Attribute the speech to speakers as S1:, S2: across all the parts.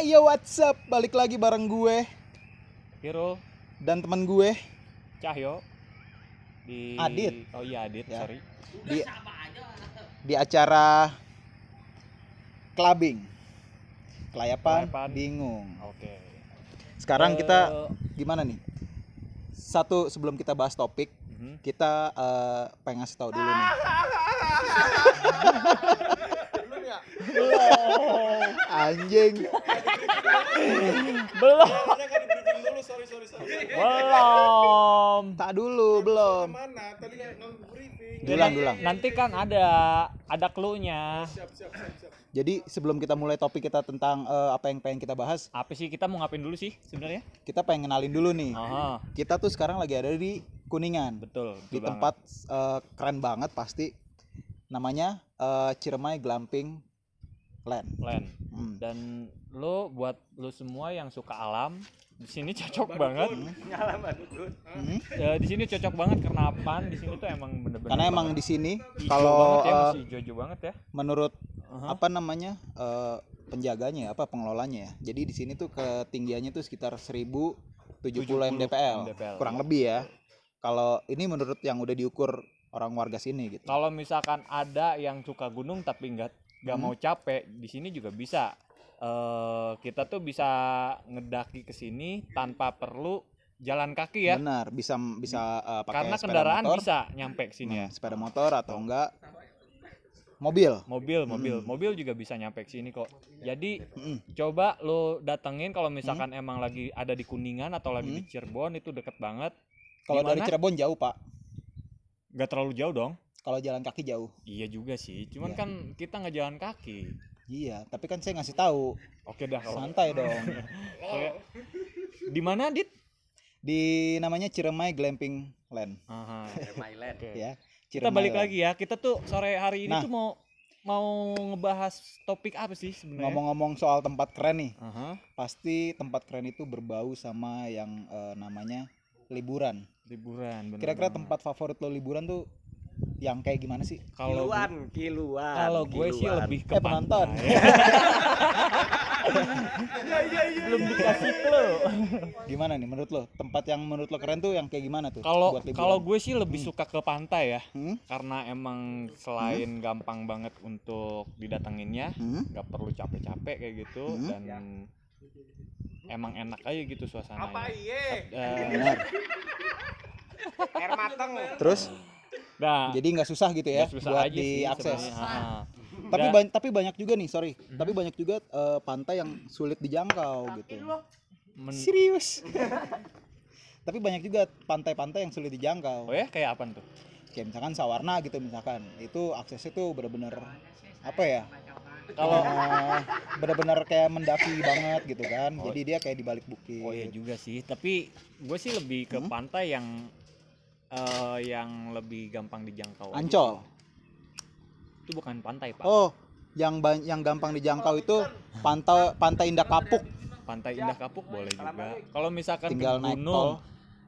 S1: Ayo what's up, balik lagi bareng gue
S2: Hero
S1: dan teman gue
S2: Cahyo di
S1: Adit.
S2: Oh iya Adit,
S1: Ya.
S2: sorry.
S1: di, di acara clubbing Kelayapan,
S2: Kelayapan.
S1: bingung
S2: Oke.
S1: Sekarang kita
S2: Eh,
S1: gimana nih? Satu sebelum kita bahas topik
S2: mhm.
S1: Kita eh, pengen ngasih tahu dulu nih Anjing
S2: belum
S3: Karena nggak di-briefing dulu, sorry sorry sorry.
S1: Iya.
S2: belum.
S1: Tak dulu, belum
S3: Mana? Tadi nggak briefing.
S1: Dulang, dulang
S2: Nanti kan ada ada clue-nya.
S3: Siap siap siap siap.
S1: Jadi sebelum kita mulai topik kita tentang eh, apa yang pengen kita bahas
S2: Apa sih kita mau ngapain dulu sih sebenarnya?
S1: Kita pengen kenalin dulu nih
S2: Oh,
S1: Kita tuh sekarang lagi ada di Kuningan
S2: betul. betul
S1: di
S2: banget.
S1: tempat eh, keren banget pasti namanya eh, Ciremai Glamping Land.
S2: plan.
S1: Hmm.
S2: Dan lo buat lo semua yang suka alam di sini cocok banget.
S3: Nyala banget tuh.
S1: Hmm.
S2: Eh, di sini cocok banget karena apaan? Di sini tuh emang bener-bener
S1: Karena emang
S2: banget.
S1: di sini
S2: Hijau
S1: kalau
S2: banget ya, Uh-huh.
S1: eh,
S2: masih hijau banget ya.
S1: menurut
S2: Aha.
S1: apa namanya eh, penjaganya ya, apa pengelolanya ya. Jadi di sini tuh ketinggiannya tuh sekitar 1070
S2: 70
S1: mdpl
S2: MDPL.
S1: kurang lebih ya. Kalau ini menurut yang udah diukur orang warga sini gitu.
S2: kalau misalkan ada yang suka gunung tapi nggak nggak mau capek di sini juga bisa eh kita tuh bisa ngedaki ke sini tanpa perlu jalan kaki ya
S1: Benar, bisa bisa eh, pakai
S2: karena
S1: sepeda
S2: kendaraan
S1: motor,
S2: bisa nyampe ke sini ya
S1: Hmm, sepeda motor atau enggak mobil.
S2: mobil mobil mobil juga bisa nyampe ke sini kok jadi
S1: Hmm.
S2: coba lo datengin kalau misalkan emang lagi ada di kuningan atau lagi di Cirebon itu deket banget
S1: Kalau dari
S2: Dimana?
S1: Cirebon jauh, Pak.
S2: nggak terlalu jauh dong
S1: Kalau jalan kaki jauh.
S2: iya juga sih cuman
S1: Iya.
S2: kan kita nggak jalan kaki
S1: Iya, tapi kan saya ngasih tahu.
S2: oke dah kalau
S1: Santai dong.
S2: Oke. di mana dit
S1: Di namanya Ciremai Glamping Land,
S2: Aha. Oke.
S1: ya.
S2: kita
S1: Ciremai
S2: balik
S1: Land.
S2: lagi ya kita tuh sore hari ini
S1: Nah.
S2: tuh mau mau ngebahas topik apa sih sebenarnya
S1: Ngomong-ngomong soal tempat keren nih,
S2: Aha,
S1: pasti tempat keren itu berbau sama yang eh, namanya liburan.
S2: liburan bener
S1: Kira-kira
S2: banget.
S1: tempat favorit lo liburan tuh yang kayak gimana sih?
S2: kalau gua-
S3: kiluan.
S2: kalau gue sih lebih ke
S1: Eh, penonton.
S2: pantai. ya.
S3: Iya iya iya.
S2: belum dikasih clue
S1: Gimana nih menurut lo? Tempat yang menurut lo keren tuh yang kayak gimana tuh?
S2: kalau
S1: buat liburan?
S2: kalau gue sih lebih suka ke pantai ya
S1: Hmm?
S2: karena emang selain gampang banget untuk didatanginnya
S1: Hmm?
S2: nggak perlu capek-capek kayak gitu
S1: Hmm.
S2: dan emang enak aja gitu suasananya
S3: Apa iye?
S2: Eh,
S1: Benar.
S3: Air mateng.
S1: Terus
S2: nah
S1: jadi nggak susah gitu ya
S2: nggak susah
S1: buat
S2: aja sih
S1: diakses.
S2: sebenarnya. Ha-ha.
S1: tapi
S2: Dan-
S1: ban- tapi banyak juga nih sorry
S2: Hmm.
S1: tapi banyak juga eh, pantai yang sulit dijangkau gitu
S2: men-
S1: serius tapi banyak juga pantai-pantai yang sulit dijangkau
S2: oh ya kayak apa tuh
S1: kayak misalkan Sawarna gitu misalkan itu aksesnya tuh bener-bener apa ya
S2: kalau
S1: Eh, bener-bener kayak mendaki banget gitu kan
S2: Oh.
S1: jadi dia kayak di balik bukit
S2: Oh iya juga sih, tapi gue sih lebih ke
S1: Hmm?
S2: pantai yang eh, yang lebih gampang dijangkau. aja.
S1: Ancol
S2: Itu bukan pantai pak,
S1: oh yang ban- yang gampang dijangkau itu pantai pantai Indah Kapuk
S2: pantai Indah Kapuk boleh juga. Kalau misalkan
S1: Tinggal
S2: ke
S1: naik tol.
S2: gunung,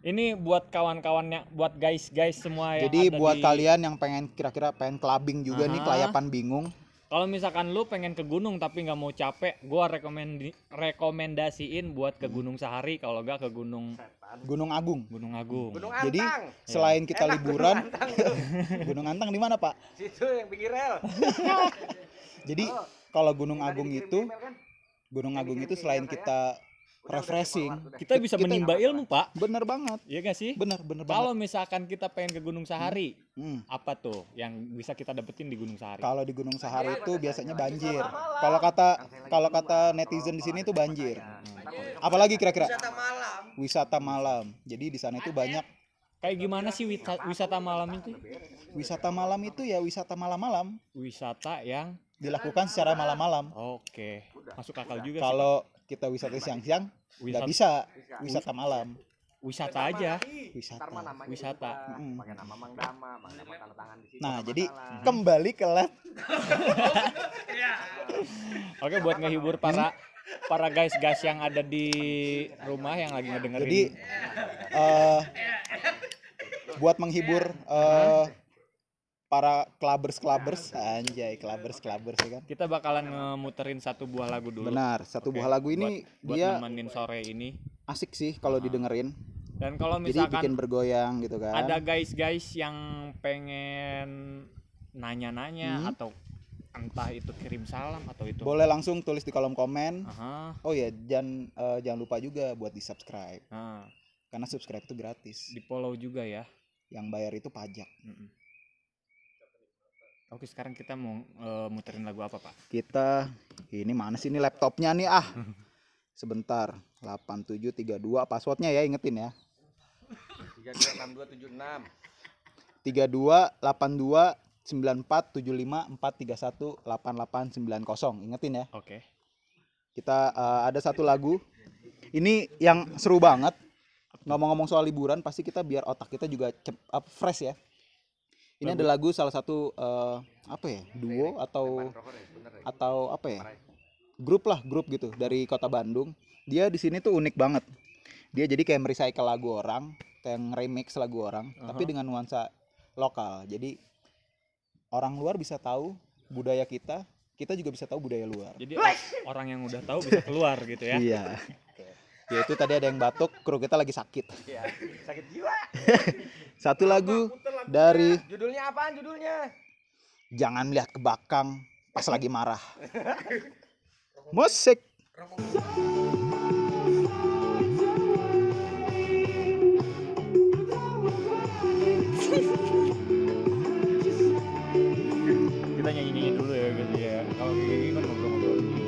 S2: ini buat kawan-kawannya, buat guys-guys semua yang
S1: jadi
S2: ada
S1: buat
S2: di-
S1: kalian yang pengen kira-kira pengen clubbing juga nih
S2: Aha.
S1: kelayapan bingung
S2: Kalau misalkan lu pengen ke gunung tapi nggak mau capek, gue rekomendi rekomendasiin buat
S1: Hmm.
S2: ke gunung sehari, kalau nggak ke gunung
S1: Gunung Agung
S2: Gunung Agung.
S3: Gunung
S1: Jadi
S3: Antang.
S1: selain kita
S3: Enak
S1: liburan,
S3: Gunung Antang tuh.
S1: Gunung Antang di mana Pak?
S3: Situ yang pinggir rel.
S1: Jadi
S3: Oh.
S1: kalau Gunung
S3: Tadi
S1: Agung
S3: dikirim
S1: itu,
S3: email kan?
S1: Gunung
S3: yang
S1: Agung
S3: dikirim
S1: itu
S3: email
S1: selain
S3: saya.
S1: kita
S3: ya. udah
S1: refreshing,
S3: keluar, udah.
S2: Kita bisa
S1: Kita-
S2: menimba ilmu pak,
S1: bener banget,
S2: iya gak sih?
S1: bener bener banget.
S2: Kalau misalkan kita pengen ke gunung sehari,
S1: Hmm.
S2: apa tuh yang bisa kita dapetin di Gunung Sahari?
S1: Kalau di Gunung Sahari
S3: Banjir,
S1: itu
S3: banjir,
S1: biasanya banjir.
S3: banjir. Malam-malam.
S1: Kalau kata
S3: Yang saya lagi
S1: kalau
S3: di rumah,
S1: kata
S3: kalau
S1: netizen di
S3: kalau
S1: sini
S3: ada
S1: itu
S3: tempat
S1: banjir.
S3: saya.
S1: Apalagi kira-kira
S3: Wisata malam.
S1: wisata malam. Jadi di sana
S3: ya?
S1: itu banyak
S2: Kayak gimana sih wita- wisata malam itu?
S1: wisata malam itu ya wisata malam-malam
S2: Wisata yang
S1: dilakukan secara malam-malam.
S2: oke, masuk akal juga sih.
S1: Kalau kita wisata siang-siang nggak
S2: Wisata-
S1: bisa wisata malam.
S2: wisata aja.
S1: Wisata.
S2: Wisata.
S1: Mm.
S3: Pakai nama Mang Dama, Mang Dama tanda tangan di situ.
S1: Nah,
S3: nama
S1: jadi
S3: salah.
S2: Mhm.
S1: kembali ke lab
S2: Oke, buat ngehibur para para guys-guys yang ada di rumah yang lagi ngedengerin.
S1: Jadi eh buat menghibur eh, para clubbers clubbers anjay clubbers clubbers ya kan
S2: Kita bakalan ngemuterin satu buah lagu dulu
S1: benar satu
S2: Oke,
S1: buah lagu ini
S2: buat
S1: dia
S2: nemenin sore ini.
S1: asik sih kalau didengerin
S2: Dan kalau
S1: jadi bikin
S2: misalkan
S1: bergoyang gitu kan
S2: ada guys-guys yang pengen nanya-nanya
S1: Hmm.
S2: atau entah itu kirim salam atau itu
S1: boleh langsung tulis di kolom komen
S2: Aha,
S1: oh ya jangan eh, jangan lupa juga buat di subscribe
S2: nah,
S1: karena subscribe itu gratis
S2: di follow juga ya.
S1: yang bayar itu pajak
S2: Mm-mm. Oke, sekarang kita mau eh, muterin lagu apa, Pak?
S1: kita ini mana sih ini laptopnya nih ah sebentar 8732 passwordnya ya ingetin ya
S3: tiga dua enam dua tujuh enam
S1: 32829475431889 ingetin ya
S2: Oke.
S1: kita eh, ada satu lagu ini yang seru banget ngomong-ngomong soal liburan pasti kita biar otak kita juga cep, apa, fresh ya ini ada lagu salah satu eh, apa ya duo atau
S3: Rokok deh, bener deh.
S1: atau apa ya grup lah grup gitu dari kota Bandung dia di sini tuh unik banget dia jadi kayak merecycle lagu orang kayak remix lagu orang tapi dengan nuansa lokal jadi orang luar bisa tahu budaya kita kita juga bisa tahu budaya luar
S2: Jadi o- orang yang udah tahu bisa keluar gitu ya.
S1: iya ya itu tadi ada yang batuk kru kita lagi sakit
S3: Iya, sakit jiwa.
S1: satu lagu
S3: Puter lagu.
S1: dari
S3: Judulnya apaan judulnya?
S1: jangan lihat ke belakang pas lagi marah musik
S2: Kita nyanyi-nyanyi dulu ya gitu ya. Kalau kayak gini kan ngobrol-ngobrol dulu.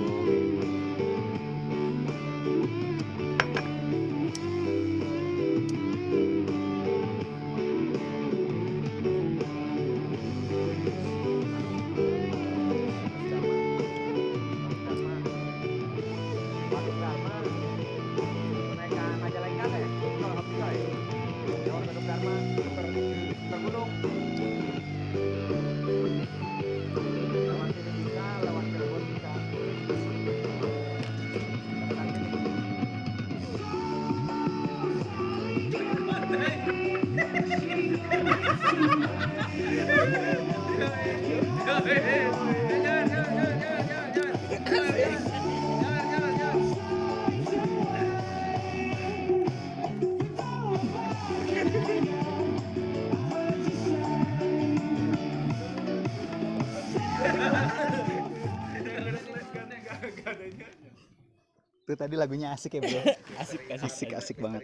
S1: itu tadi lagunya asik ya bro
S2: Asik, asik,
S1: asik asik banget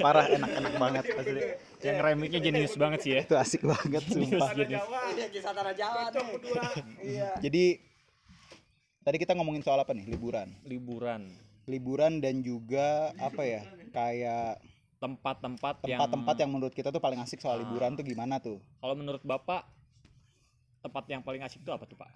S1: parah enak enak banget asli.
S2: Yang remiknya jenius banget sih ya.
S1: itu asik banget
S2: Jenius,
S1: sumpah
S2: jenius.
S3: Iya, kisah tanah Jawa nih. Iya.
S1: jadi tadi kita ngomongin soal apa nih liburan
S2: Liburan.
S1: liburan dan juga apa ya kayak
S2: Tempat-tempat yang
S1: tempat-tempat yang menurut kita tuh paling asik soal liburan tuh gimana tuh
S2: Kalau menurut Bapak tempat yang paling asik itu apa tuh, Pak?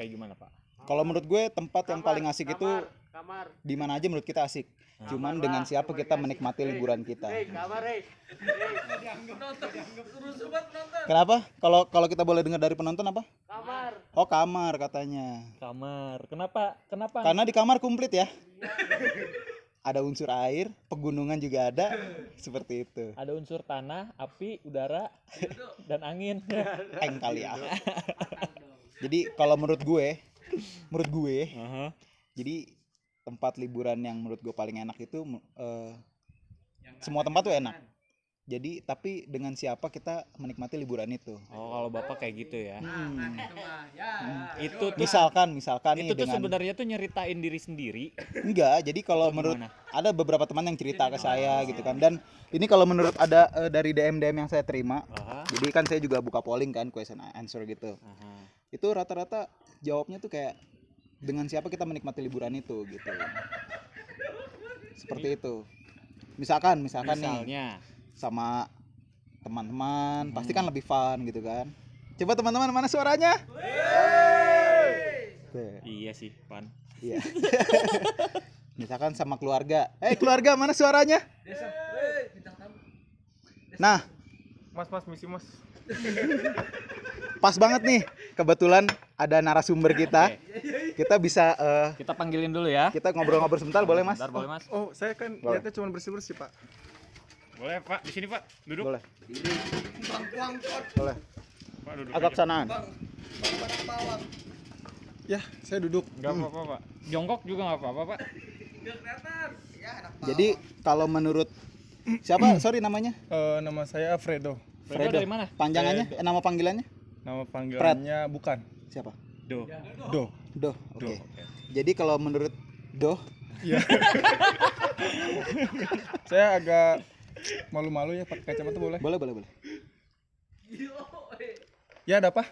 S2: Kayak gimana, Pak?
S1: kalau menurut gue tempat yang paling asik itu
S3: kamar.
S1: di mana aja menurut kita asik cuman
S3: Kamar
S1: dengan
S3: lah,
S1: siapa
S3: yang
S1: kita
S3: paling asik.
S1: menikmati
S3: Hei,
S1: liburan kita
S3: Hei, kamar, hei.
S1: kenapa kalau kalau kita boleh dengar dari penonton apa
S3: Kamar.
S1: oh kamar katanya
S2: Kamar. Kenapa? Kenapa?
S1: Karena di kamar komplit ya. ada unsur air, pegunungan juga ada, seperti itu.
S2: Ada unsur tanah, api, udara, dan angin.
S1: Eng kali ya. jadi kalau menurut gue, menurut gue,
S2: Aha.
S1: jadi tempat liburan yang menurut gue paling enak itu eh, semua tempat tuh enak. Jadi tapi dengan siapa kita menikmati liburan itu.
S2: Oh, kalau Bapak kayak gitu ya.
S1: Hmm. Hmm.
S2: Itu tuh
S1: Misalkan, misalkan nih
S2: itu tuh
S1: dengan
S2: sebenarnya tuh nyeritain diri sendiri.
S1: Enggak, jadi kalau menurut ada beberapa teman yang cerita ke
S2: Oh,
S1: saya gitu kan dan ini kalau menurut ada eh, dari DM DM yang saya terima.
S2: Aha.
S1: Jadi kan saya juga buka polling kan question and answer gitu.
S2: Aha.
S1: Itu rata-rata jawabnya tuh kayak dengan siapa kita menikmati liburan itu gitu. Seperti itu. Misalkan, misalkan Kan nih
S2: Misalnya,
S1: sama teman-teman, pasti kan lebih fun gitu kan. Coba teman-teman mana suaranya? Tuh.
S2: iya sih, Pan.
S1: Iya. Misalkan sama keluarga.
S4: Iya.
S1: Eh keluarga mana suaranya? Nah,
S4: Mas, mas, misi, mas.
S1: pas banget nih. Kebetulan ada narasumber kita. Kita bisa eh,
S2: Kita panggilin dulu ya.
S1: kita ngobrol-ngobrol sebentar boleh Mas?
S2: Bentar, boleh, Mas?
S4: Oh, saya kan
S1: Boleh.
S4: niatnya cuma bersih-bersih, Pak.
S2: Boleh, Pak. Di sini, Pak. Duduk.
S1: Boleh. Boleh.
S4: Pak duduk
S1: agak
S4: aja.
S1: sanaan.
S3: Bang, bang mana bawang?
S4: Ya, saya duduk. Enggak
S1: Hmm.
S4: apa-apa, Pak.
S2: Jongkok juga nggak apa-apa pak.
S3: Enggak kelihatan. Ya, anak bawang.
S1: Jadi kalau menurut siapa? Sorry namanya.
S4: Eh, nama saya Fredo.
S2: Fredo
S1: Fredo.
S2: dari mana?
S1: Panjangannya, eh, nama panggilannya
S4: Nama panggilannya bukan.
S1: siapa?
S2: Do.
S4: Do.
S1: Doh. Oke.
S4: Doh,
S1: Jadi kalau menurut Doh,
S4: Iya. saya agak malu-malu ya pakai kacamata boleh.
S1: boleh boleh boleh.
S4: Ya, ada apa?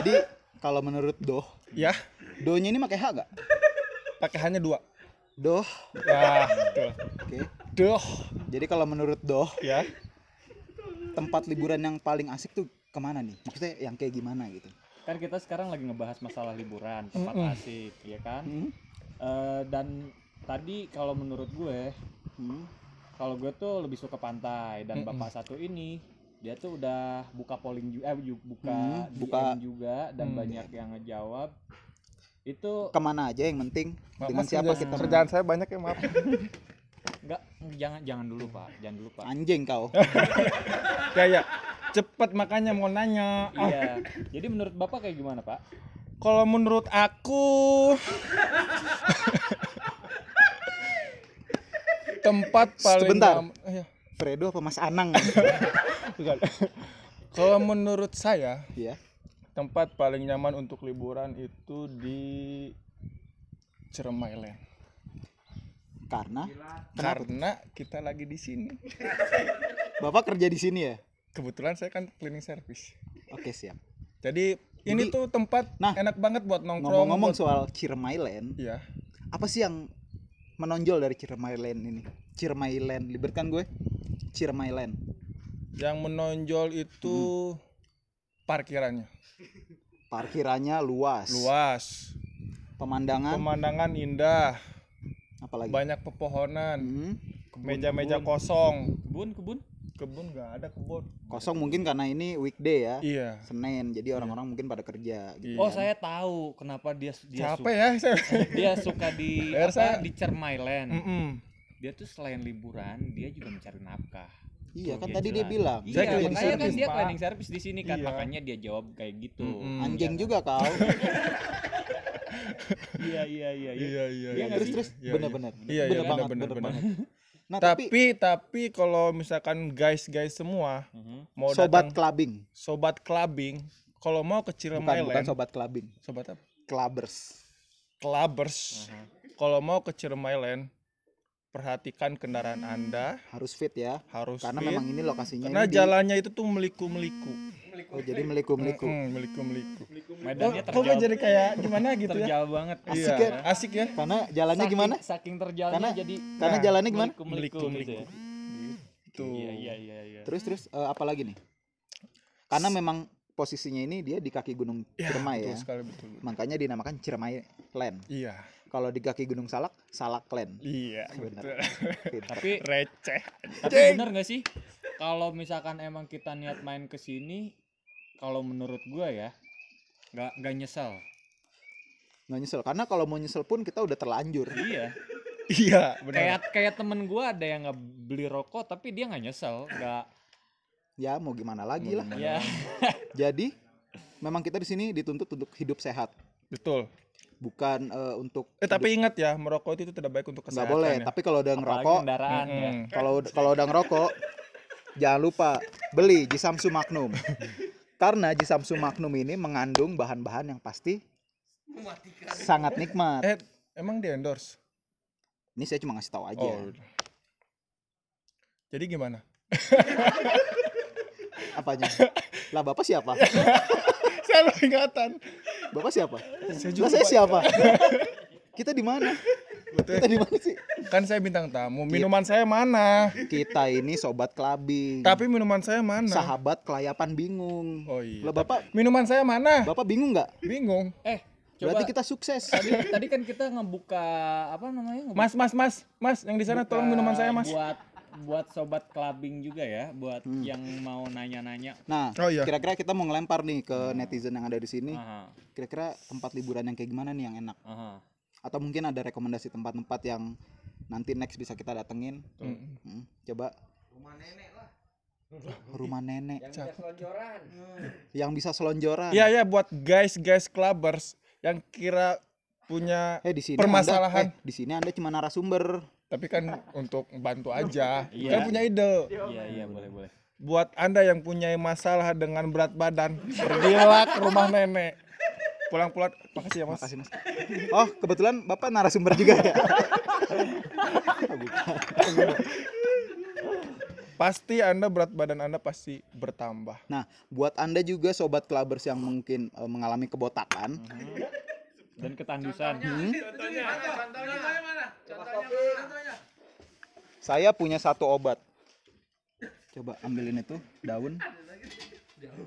S1: Jadi kalau menurut Doh,
S4: Ya,
S1: Dohnya ini pakai H gak?
S4: pakai hanya dua.
S1: Doh.
S4: Ya, tuh.
S1: Oke.
S4: Doh.
S1: Jadi kalau menurut Doh,
S4: Ya.
S1: tempat liburan yang paling asik tuh kemana nih? Maksudnya yang kayak gimana gitu?
S2: Kan kita sekarang lagi ngebahas masalah liburan, tempat
S4: Mm-mm.
S2: asik, ya kan?
S1: Hmm?
S2: Eh, dan tadi kalau menurut gue,
S1: Hmm?
S2: kalau gue tuh lebih suka pantai dan
S4: Mm-mm.
S2: bapak satu ini dia tuh udah buka polling juga, eh ju- buka
S1: Hmm,
S2: DM
S1: buka.
S2: juga dan
S4: Hmm.
S2: banyak yang ngejawab itu
S1: Kemana aja yang penting?
S4: Maaf,
S1: dengan
S4: Mas,
S1: siapa
S4: kerjaan-
S1: kita?
S4: Kerjaan saya banyak ya, maaf.
S2: nggak jangan jangan dulu pak, jangan dulu pak.
S1: Anjing kau.
S4: Kayak Ya, cepet makanya mau nanya. Ah,
S2: iya. Jadi menurut bapak kayak gimana pak?
S4: Kalau menurut aku tempat paling
S1: Sebentar.
S4: nyaman- Eh, ya,
S1: Fredo apa Mas Anang?
S4: bukan. Kalau menurut saya
S1: ya.
S4: tempat paling nyaman untuk liburan itu di Ciremai Land.
S1: Karena Kenapa?
S4: Karena kita lagi di sini.
S1: Bapak kerja di sini ya?
S4: Kebetulan saya kan cleaning service.
S1: Oke, siap.
S4: Jadi ini
S1: Jadi-
S4: tuh tempat
S1: Nah,
S4: enak banget buat nongkrong.
S1: Ngomong-ngomong
S4: buat-
S1: soal Ciremai Land,
S4: Iya.
S1: apa sih yang menonjol dari Ciremai Land ini? Ciremai Land, liberkan gue. Ciremai Land.
S4: Yang menonjol itu parkirannya
S1: Parkirannya luas.
S4: luas.
S1: Pemandangan
S4: Pemandangan indah,
S1: apalagi?
S4: banyak pepohonan,
S1: Hmm,
S4: meja-meja kosong.
S2: Kebun kebun?
S4: Kebun nggak ada kebun.
S1: kosong mungkin karena ini weekday ya.
S4: Iya.
S1: Senin. Jadi orang-orang mungkin pada kerja gitu.
S2: Oh
S1: kan.
S2: saya tahu kenapa dia dia
S4: Capek ya saya.
S2: suka dia suka di
S4: Bayar saya. Mm.
S2: apa, di Cermai Land.
S4: Mm-mm.
S2: Dia tuh selain liburan dia juga mencari nafkah.
S1: Iya, kan
S2: Iya,
S1: tadi dia
S2: jelas.
S1: bilang.
S4: Saya
S2: Iya,
S4: cleaning
S2: makanya kan
S4: service,
S2: dia
S4: Pak.
S2: cleaning service di sini kan,
S4: Iya.
S2: makanya dia jawab kayak gitu.
S4: Mm-mm.
S1: Hmm. Anjing juga kau.
S4: iya,
S2: Iya iya iya. iya.
S4: Iya iya.
S2: Iya nggak
S1: terus
S2: sih?
S1: terus
S4: Iya,
S1: bener-bener.
S4: Iya iya
S1: bener banget,
S4: benar benar
S1: bener
S4: benar.
S1: banget. Nah, tapi,
S4: Tapi tapi kalau misalkan guys-guys semua
S2: Mhm.
S4: mau
S1: sobat
S4: datang
S1: clubbing.
S4: sobat clubbing, kalau mau ke
S1: Bukan,
S4: Ciremai
S1: bukan
S4: Land,
S1: sobat clubbing.
S4: sobat apa?
S1: Clubbers.
S4: Clubbers.
S2: Aha.
S4: Kalau mau ke Ciremai Land, perhatikan kendaraan Anda
S1: Harus fit ya.
S4: harus
S1: Karena
S4: fit.
S1: memang ini lokasinya
S4: karena
S1: ini di-
S4: jalannya itu tuh meliku-meliku.
S1: Oh, jadi meliku-meliku.
S4: Mm-mm, meliku-meliku.
S2: Medannya
S4: Kok gue
S2: terjal,
S4: jadi kayak gimana gitu ya?
S2: terjal banget.
S1: Asik
S4: Iya,
S1: ya?
S4: Asik ya?
S1: Karena jalannya
S2: Saking-
S1: gimana?
S2: Saking terjalnya
S1: Karena-
S2: jadi
S1: Karena
S4: Nah,
S1: jalannya gimana?
S2: meliku gitu ya.
S4: Gitu.
S2: Iya iya iya iya.
S1: Terus terus eh, apa lagi nih? Karena memang posisinya ini dia di kaki Gunung Ciremai
S4: Iya, Betul
S1: ya.
S4: sekali betul.
S1: Makanya dinamakan Ciremai Land.
S4: Iya.
S1: Kalau di kaki Gunung Salak, Salak Land.
S4: Iya,
S1: Benar.
S4: betul.
S2: Tapi
S4: Receh.
S2: tapi bener gak sih kalau misalkan emang kita niat main ke sini kalau menurut gua ya nggak nggak nyesel.
S1: Nggak nyesel karena kalau mau nyesel pun kita udah terlanjur.
S2: Iya.
S4: Iya, benar.
S2: Kayak kayak temen gua ada yang nggak beli rokok tapi dia nggak nyesel, nggak
S1: Ya mau gimana lagi lah.
S2: ya
S1: Jadi memang kita di sini dituntut untuk hidup sehat,
S4: Betul.
S1: bukan eh, untuk
S4: Eh tapi ingat ya, merokok itu tidak baik untuk
S1: nggak
S4: kesehatan.
S1: boleh.
S4: ya.
S1: Tapi kalau udah
S2: apalagi
S1: ngerokok,
S2: kendaraan ya.
S4: Mm-mm.
S1: kalau kalau udah ngerokok, jangan lupa beli Jisamsu Magnum. Karena Jisamsu Magnum ini mengandung bahan-bahan yang pasti
S3: Mematikan.
S1: sangat nikmat.
S4: Eh, emang di endorse?
S1: Ini saya cuma ngasih tahu aja.
S4: Oh. udah. Jadi gimana?
S1: Apanya? Lah bapak siapa?
S4: Saya lo ingatan.
S1: Bapak siapa?
S4: Saya
S1: Lah
S4: juga,
S1: saya
S4: Pak.
S1: siapa? Kita di mana? Kita di mana sih?
S4: Kan saya bintang tamu.
S1: Iya.
S4: Minuman saya mana?
S1: Kita ini sobat kelabing.
S4: Tapi minuman saya mana?
S1: sahabat kelayapan bingung.
S4: Oh iya.
S1: Lah bapak,
S4: Minuman saya mana?
S1: bapak bingung nggak?
S4: Bingung.
S2: Eh, coba
S1: Berarti kita sukses.
S2: tadi tadi kan kita ngebuka apa namanya? ngebuka-
S4: Mas, mas, mas, mas, yang di sana tolong
S2: buka
S4: minuman saya, mas.
S2: Buat buat sobat clubbing juga ya, buat
S1: Hmm.
S2: yang mau nanya-nanya.
S1: Nah,
S4: Oh iya.
S1: kira-kira kita mau ngelempar nih ke netizen yang ada di sini.
S2: Aha,
S1: Kira-kira tempat liburan yang kayak gimana nih yang enak?
S2: aha.
S1: Atau mungkin ada rekomendasi tempat-tempat yang nanti next bisa kita datengin?
S4: Mm.
S1: Hmm, coba
S3: Rumah nenek lah.
S1: rumah nenek
S5: yang bisa selonjoran
S1: yang bisa selonjoran
S4: Iya ya buat guys guys clubbers yang kira punya
S1: eh di sini
S4: Permasalahan.
S1: Anda- eh, di sini anda cuma narasumber
S4: tapi kan untuk bantu aja.
S2: Iya.
S4: Kan punya ide.
S2: Iya iya boleh boleh.
S4: Buat Anda yang punya masalah dengan berat badan, pergilah ke rumah nenek. Pulang-pulang makasih ya Mas.
S1: Makasih, Mas. oh kebetulan bapak narasumber juga ya Oh,
S4: Pasti Anda berat badan Anda pasti bertambah.
S1: nah buat anda juga sobat clubbers yang mungkin eh, mengalami kebotakan
S2: Dan ketandusan.
S3: Contohnya, contohnya mana? Contohnya mana? Contohnya.
S1: saya punya satu obat coba ambilin itu daun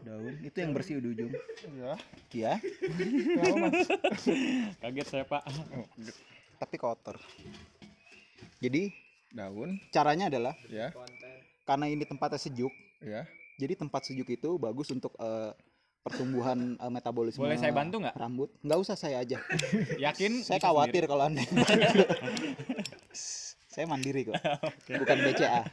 S1: daun itu yang bersih di ujung
S4: Iya.
S1: ya
S2: Kaget saya pak.
S1: tapi kotor jadi
S4: Daun,
S1: caranya adalah
S4: ya,
S1: karena ini tempatnya sejuk
S4: ya.
S1: jadi tempat sejuk itu bagus untuk eh, pertumbuhan eh, metabolisme
S2: Boleh saya bantu nggak?
S1: rambut nggak usah saya aja
S2: Yakin?
S1: saya
S2: bisa
S1: khawatir kalau anda saya mandiri kok bukan BCA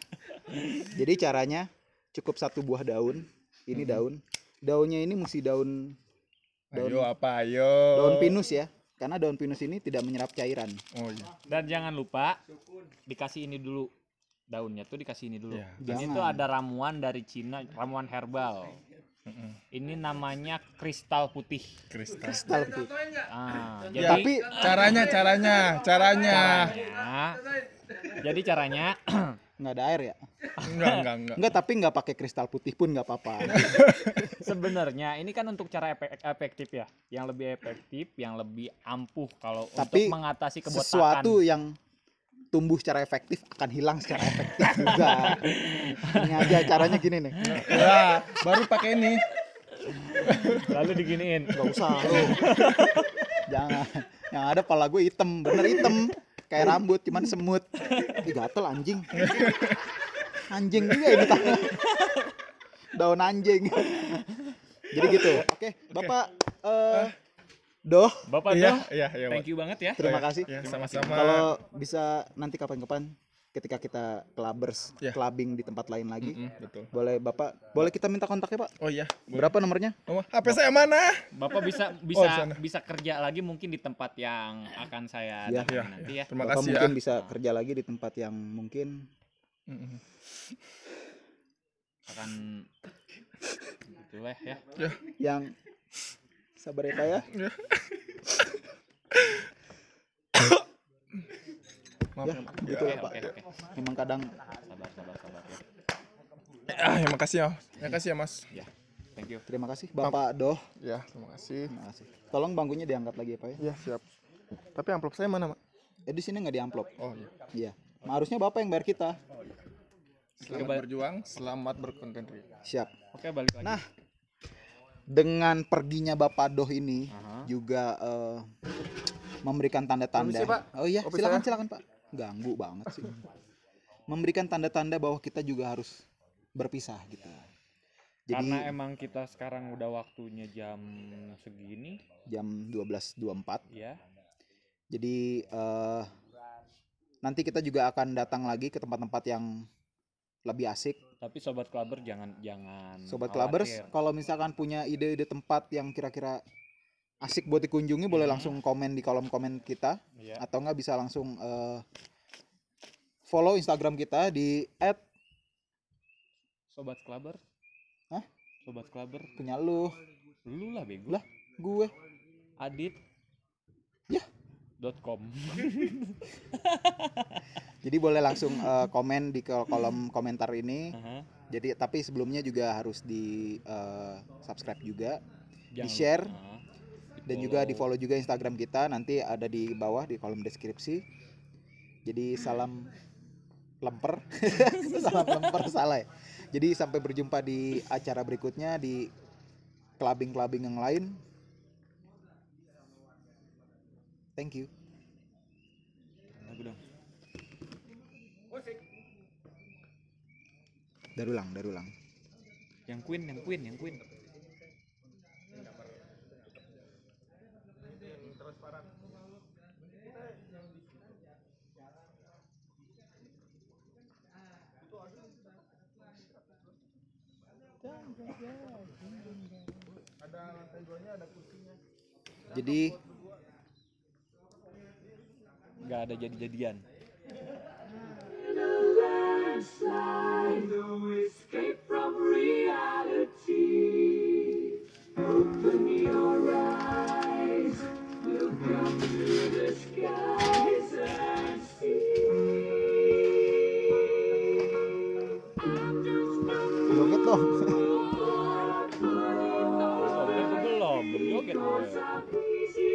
S1: jadi caranya cukup satu buah daun ini daun daunnya ini mesti daun Daun-
S4: Ayo apa ayo?
S1: daun pinus ya karena daun pinus ini tidak menyerap cairan
S4: Oh iya.
S2: sendiri? Dan jangan lupa dikasih ini dulu daunnya tuh dikasih ini dulu.
S4: Iya.
S2: Dan
S1: Jangan.
S2: itu ada ramuan dari Cina, ramuan herbal.
S4: Mm-mm.
S2: Ini namanya kristal putih.
S4: Kristal.
S1: Kristal tuh.
S3: Contohin enggak?
S2: Ah,
S4: Ya,
S2: jadi
S1: tapi
S4: Caranya, caranya, caranya.
S2: caranya, jadi caranya
S1: nggak ada air ya
S4: Enggak, enggak, enggak.
S1: nggak tapi nggak pakai kristal putih pun nggak apa-apa
S2: sebenarnya ini kan untuk cara epe- efektif ya, yang lebih efektif, yang lebih ampuh kalau
S1: Tapi
S2: untuk mengatasi kebotakan.
S1: sesuatu yang tumbuh secara efektif akan hilang secara efektif juga ini aja caranya gini nih
S4: Ya, baru pakai ini.
S2: Lalu diginiin.
S1: nggak usah lu jangan yang ada pala gue hitam bener hitam kayak rambut cuman semut Ih, gatel anjing anjing juga ini tangan daun anjing jadi gitu oke bapak eh doh
S2: Bapak
S4: Iya,
S2: tuh,
S4: iya, iya. Pak.
S2: thank you banget ya.
S1: terima kasih
S4: Ya, sama-sama.
S1: kalau bisa nanti kapan-kapan ketika kita clubbers
S4: Ya.
S1: clubbing di tempat lain lagi
S4: Mm, betul.
S1: boleh bapak boleh kita minta kontaknya pak
S4: Oh iya.
S1: berapa nomornya
S4: Nomor HP saya mana?
S2: Bapak bisa bisa
S4: Oh, di sana.
S2: bisa kerja lagi mungkin di tempat yang akan saya
S1: Iya,
S2: datangin
S4: iya,
S2: nanti ya.
S4: Terima
S1: bapak
S4: kasih ya.
S1: mungkin bisa kerja lagi di tempat yang mungkin
S4: Mm-mm.
S2: Akan gitu lah ya.
S1: yang sabar ya Pak ya.
S4: Maaf,
S1: Ya,
S4: maaf.
S1: gitu
S2: Oke,
S1: lah Pak.
S2: oke, oke.
S1: Memang kadang
S2: Sabar, sabar, sabar ya.
S4: Ah, ya makasih ya. Makasih ya, Mas.
S2: Ya. Thank you.
S1: terima kasih Bapak Doh.
S4: Ya, terima kasih.
S1: Terima kasih. Tolong bangkunya diangkat lagi ya Pak ya.
S4: Ya, siap. Tapi amplop saya mana, Mak?
S1: Eh di sini nggak di amplop.
S4: Oh iya.
S1: Iya. Nah, harusnya Bapak yang bayar kita.
S4: Selamat berjuang, selamat berkontentri.
S1: Siap.
S2: Oke, balik lagi.
S1: Nah, dengan perginya Bapak Doh ini
S2: Aha.
S1: juga eh, memberikan tanda-tanda.
S4: Permisi, Pak.
S1: Oh iya,
S4: Kopi
S1: silakan silakan Pak. Ganggu banget sih. memberikan tanda-tanda bahwa kita juga harus berpisah gitu. Jadi
S2: Karena emang kita sekarang udah waktunya jam segini
S1: jam 12.24
S2: ya.
S1: Jadi eh nanti kita juga akan datang lagi ke tempat-tempat yang lebih asik.
S2: Tapi sobat clubber jangan jangan
S1: Sobat Clubbers,
S2: Hmm, khawatir.
S1: kalau misalkan punya ide-ide tempat yang kira-kira asik buat dikunjungi, boleh
S2: Mhm.
S1: langsung komen di kolom komen kita
S2: Iya.
S1: atau nggak bisa langsung eh, follow Instagram kita di
S2: Sobat clubber?
S1: Hah?
S2: Sobat clubber?
S1: punya lu,
S2: Lu lah Ya. bego.
S1: Lah. gue.
S2: Adit.
S1: Yah.
S2: Dot com.
S1: Jadi boleh langsung eh, komen di kol- kolom komentar ini.
S2: Aha.
S1: Jadi tapi sebelumnya juga harus di eh, subscribe juga.
S2: Jangan
S1: Di-share.
S2: lupa. Aha.
S1: dan juga di
S2: Di-follow.
S1: follow juga Instagram kita nanti ada di bawah di kolom deskripsi jadi salam lemper salam lemper salah ya jadi sampai berjumpa di acara berikutnya di clubbing clubbing yang lain thank you
S2: Lagu dong.
S1: darulang darulang
S2: Yang Queen, yang Queen, yang Queen.
S1: Jadi
S5: nggak ada jadi-jadian
S1: joget dong.
S5: Joget tuh belum belum joget gue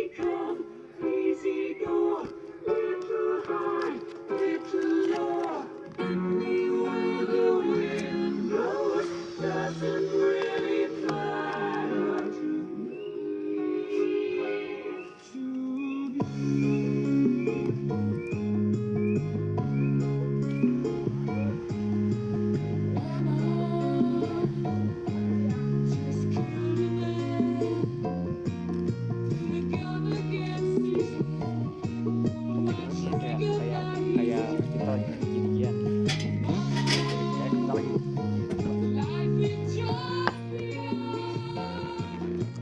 S5: kayak kayak kayak kita lagi jadi-jadian kayak kita lagi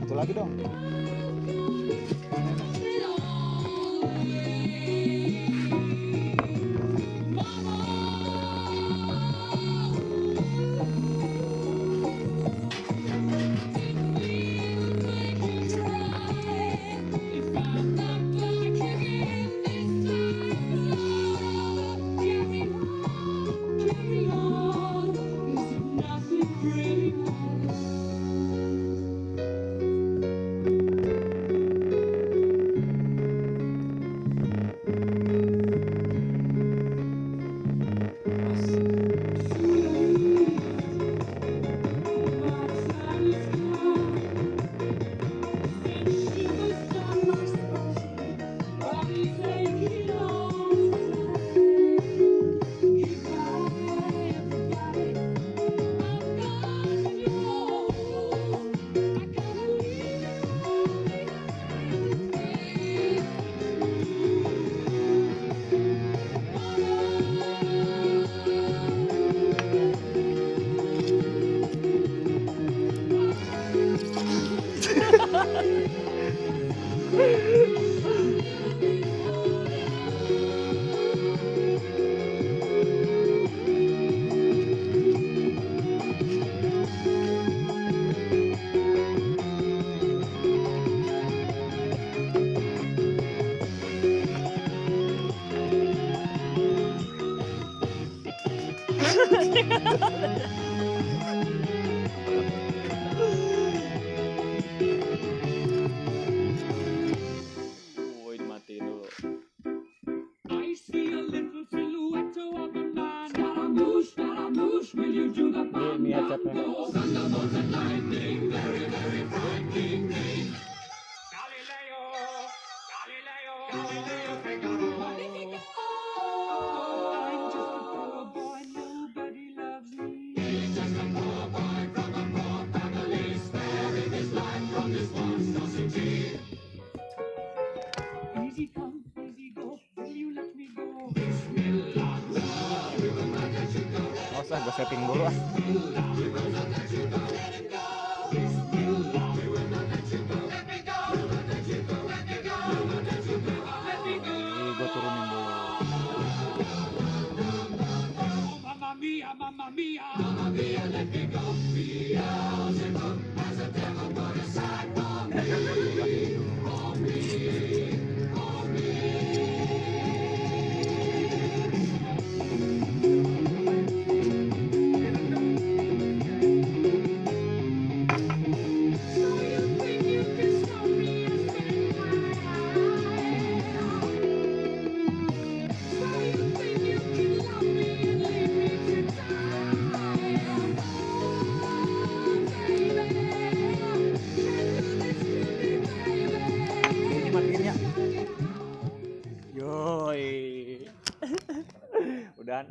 S1: Itu lagi dong.
S5: woi matiin dulu
S6: I see a little silhouette of a man. Scaramouche, Scaramouche, will you do the
S5: ini ini headsetnya
S6: Oh, thunderbolts and lightning, very, very frightening me. Galileo, Galileo, Galileo Figaro. Oh, I'm just a poor boy, nobody loves me. He's just a poor boy from a poor family, sparing his life from this monstrosity. Easy come, easy go, will you let me go?
S5: nggak usah gue setting dulu ah Ih, gua turunin dulu
S6: Oh, mamma mia, mamma mia, mamma mia, let me go. Beelzebub has a devil put aside for me. For me, for me. So you think you can stop me and save my life? So you think you can love me and leave me to die? Oh, baby, can do this to me, baby?
S5: matiin ya yoi udahan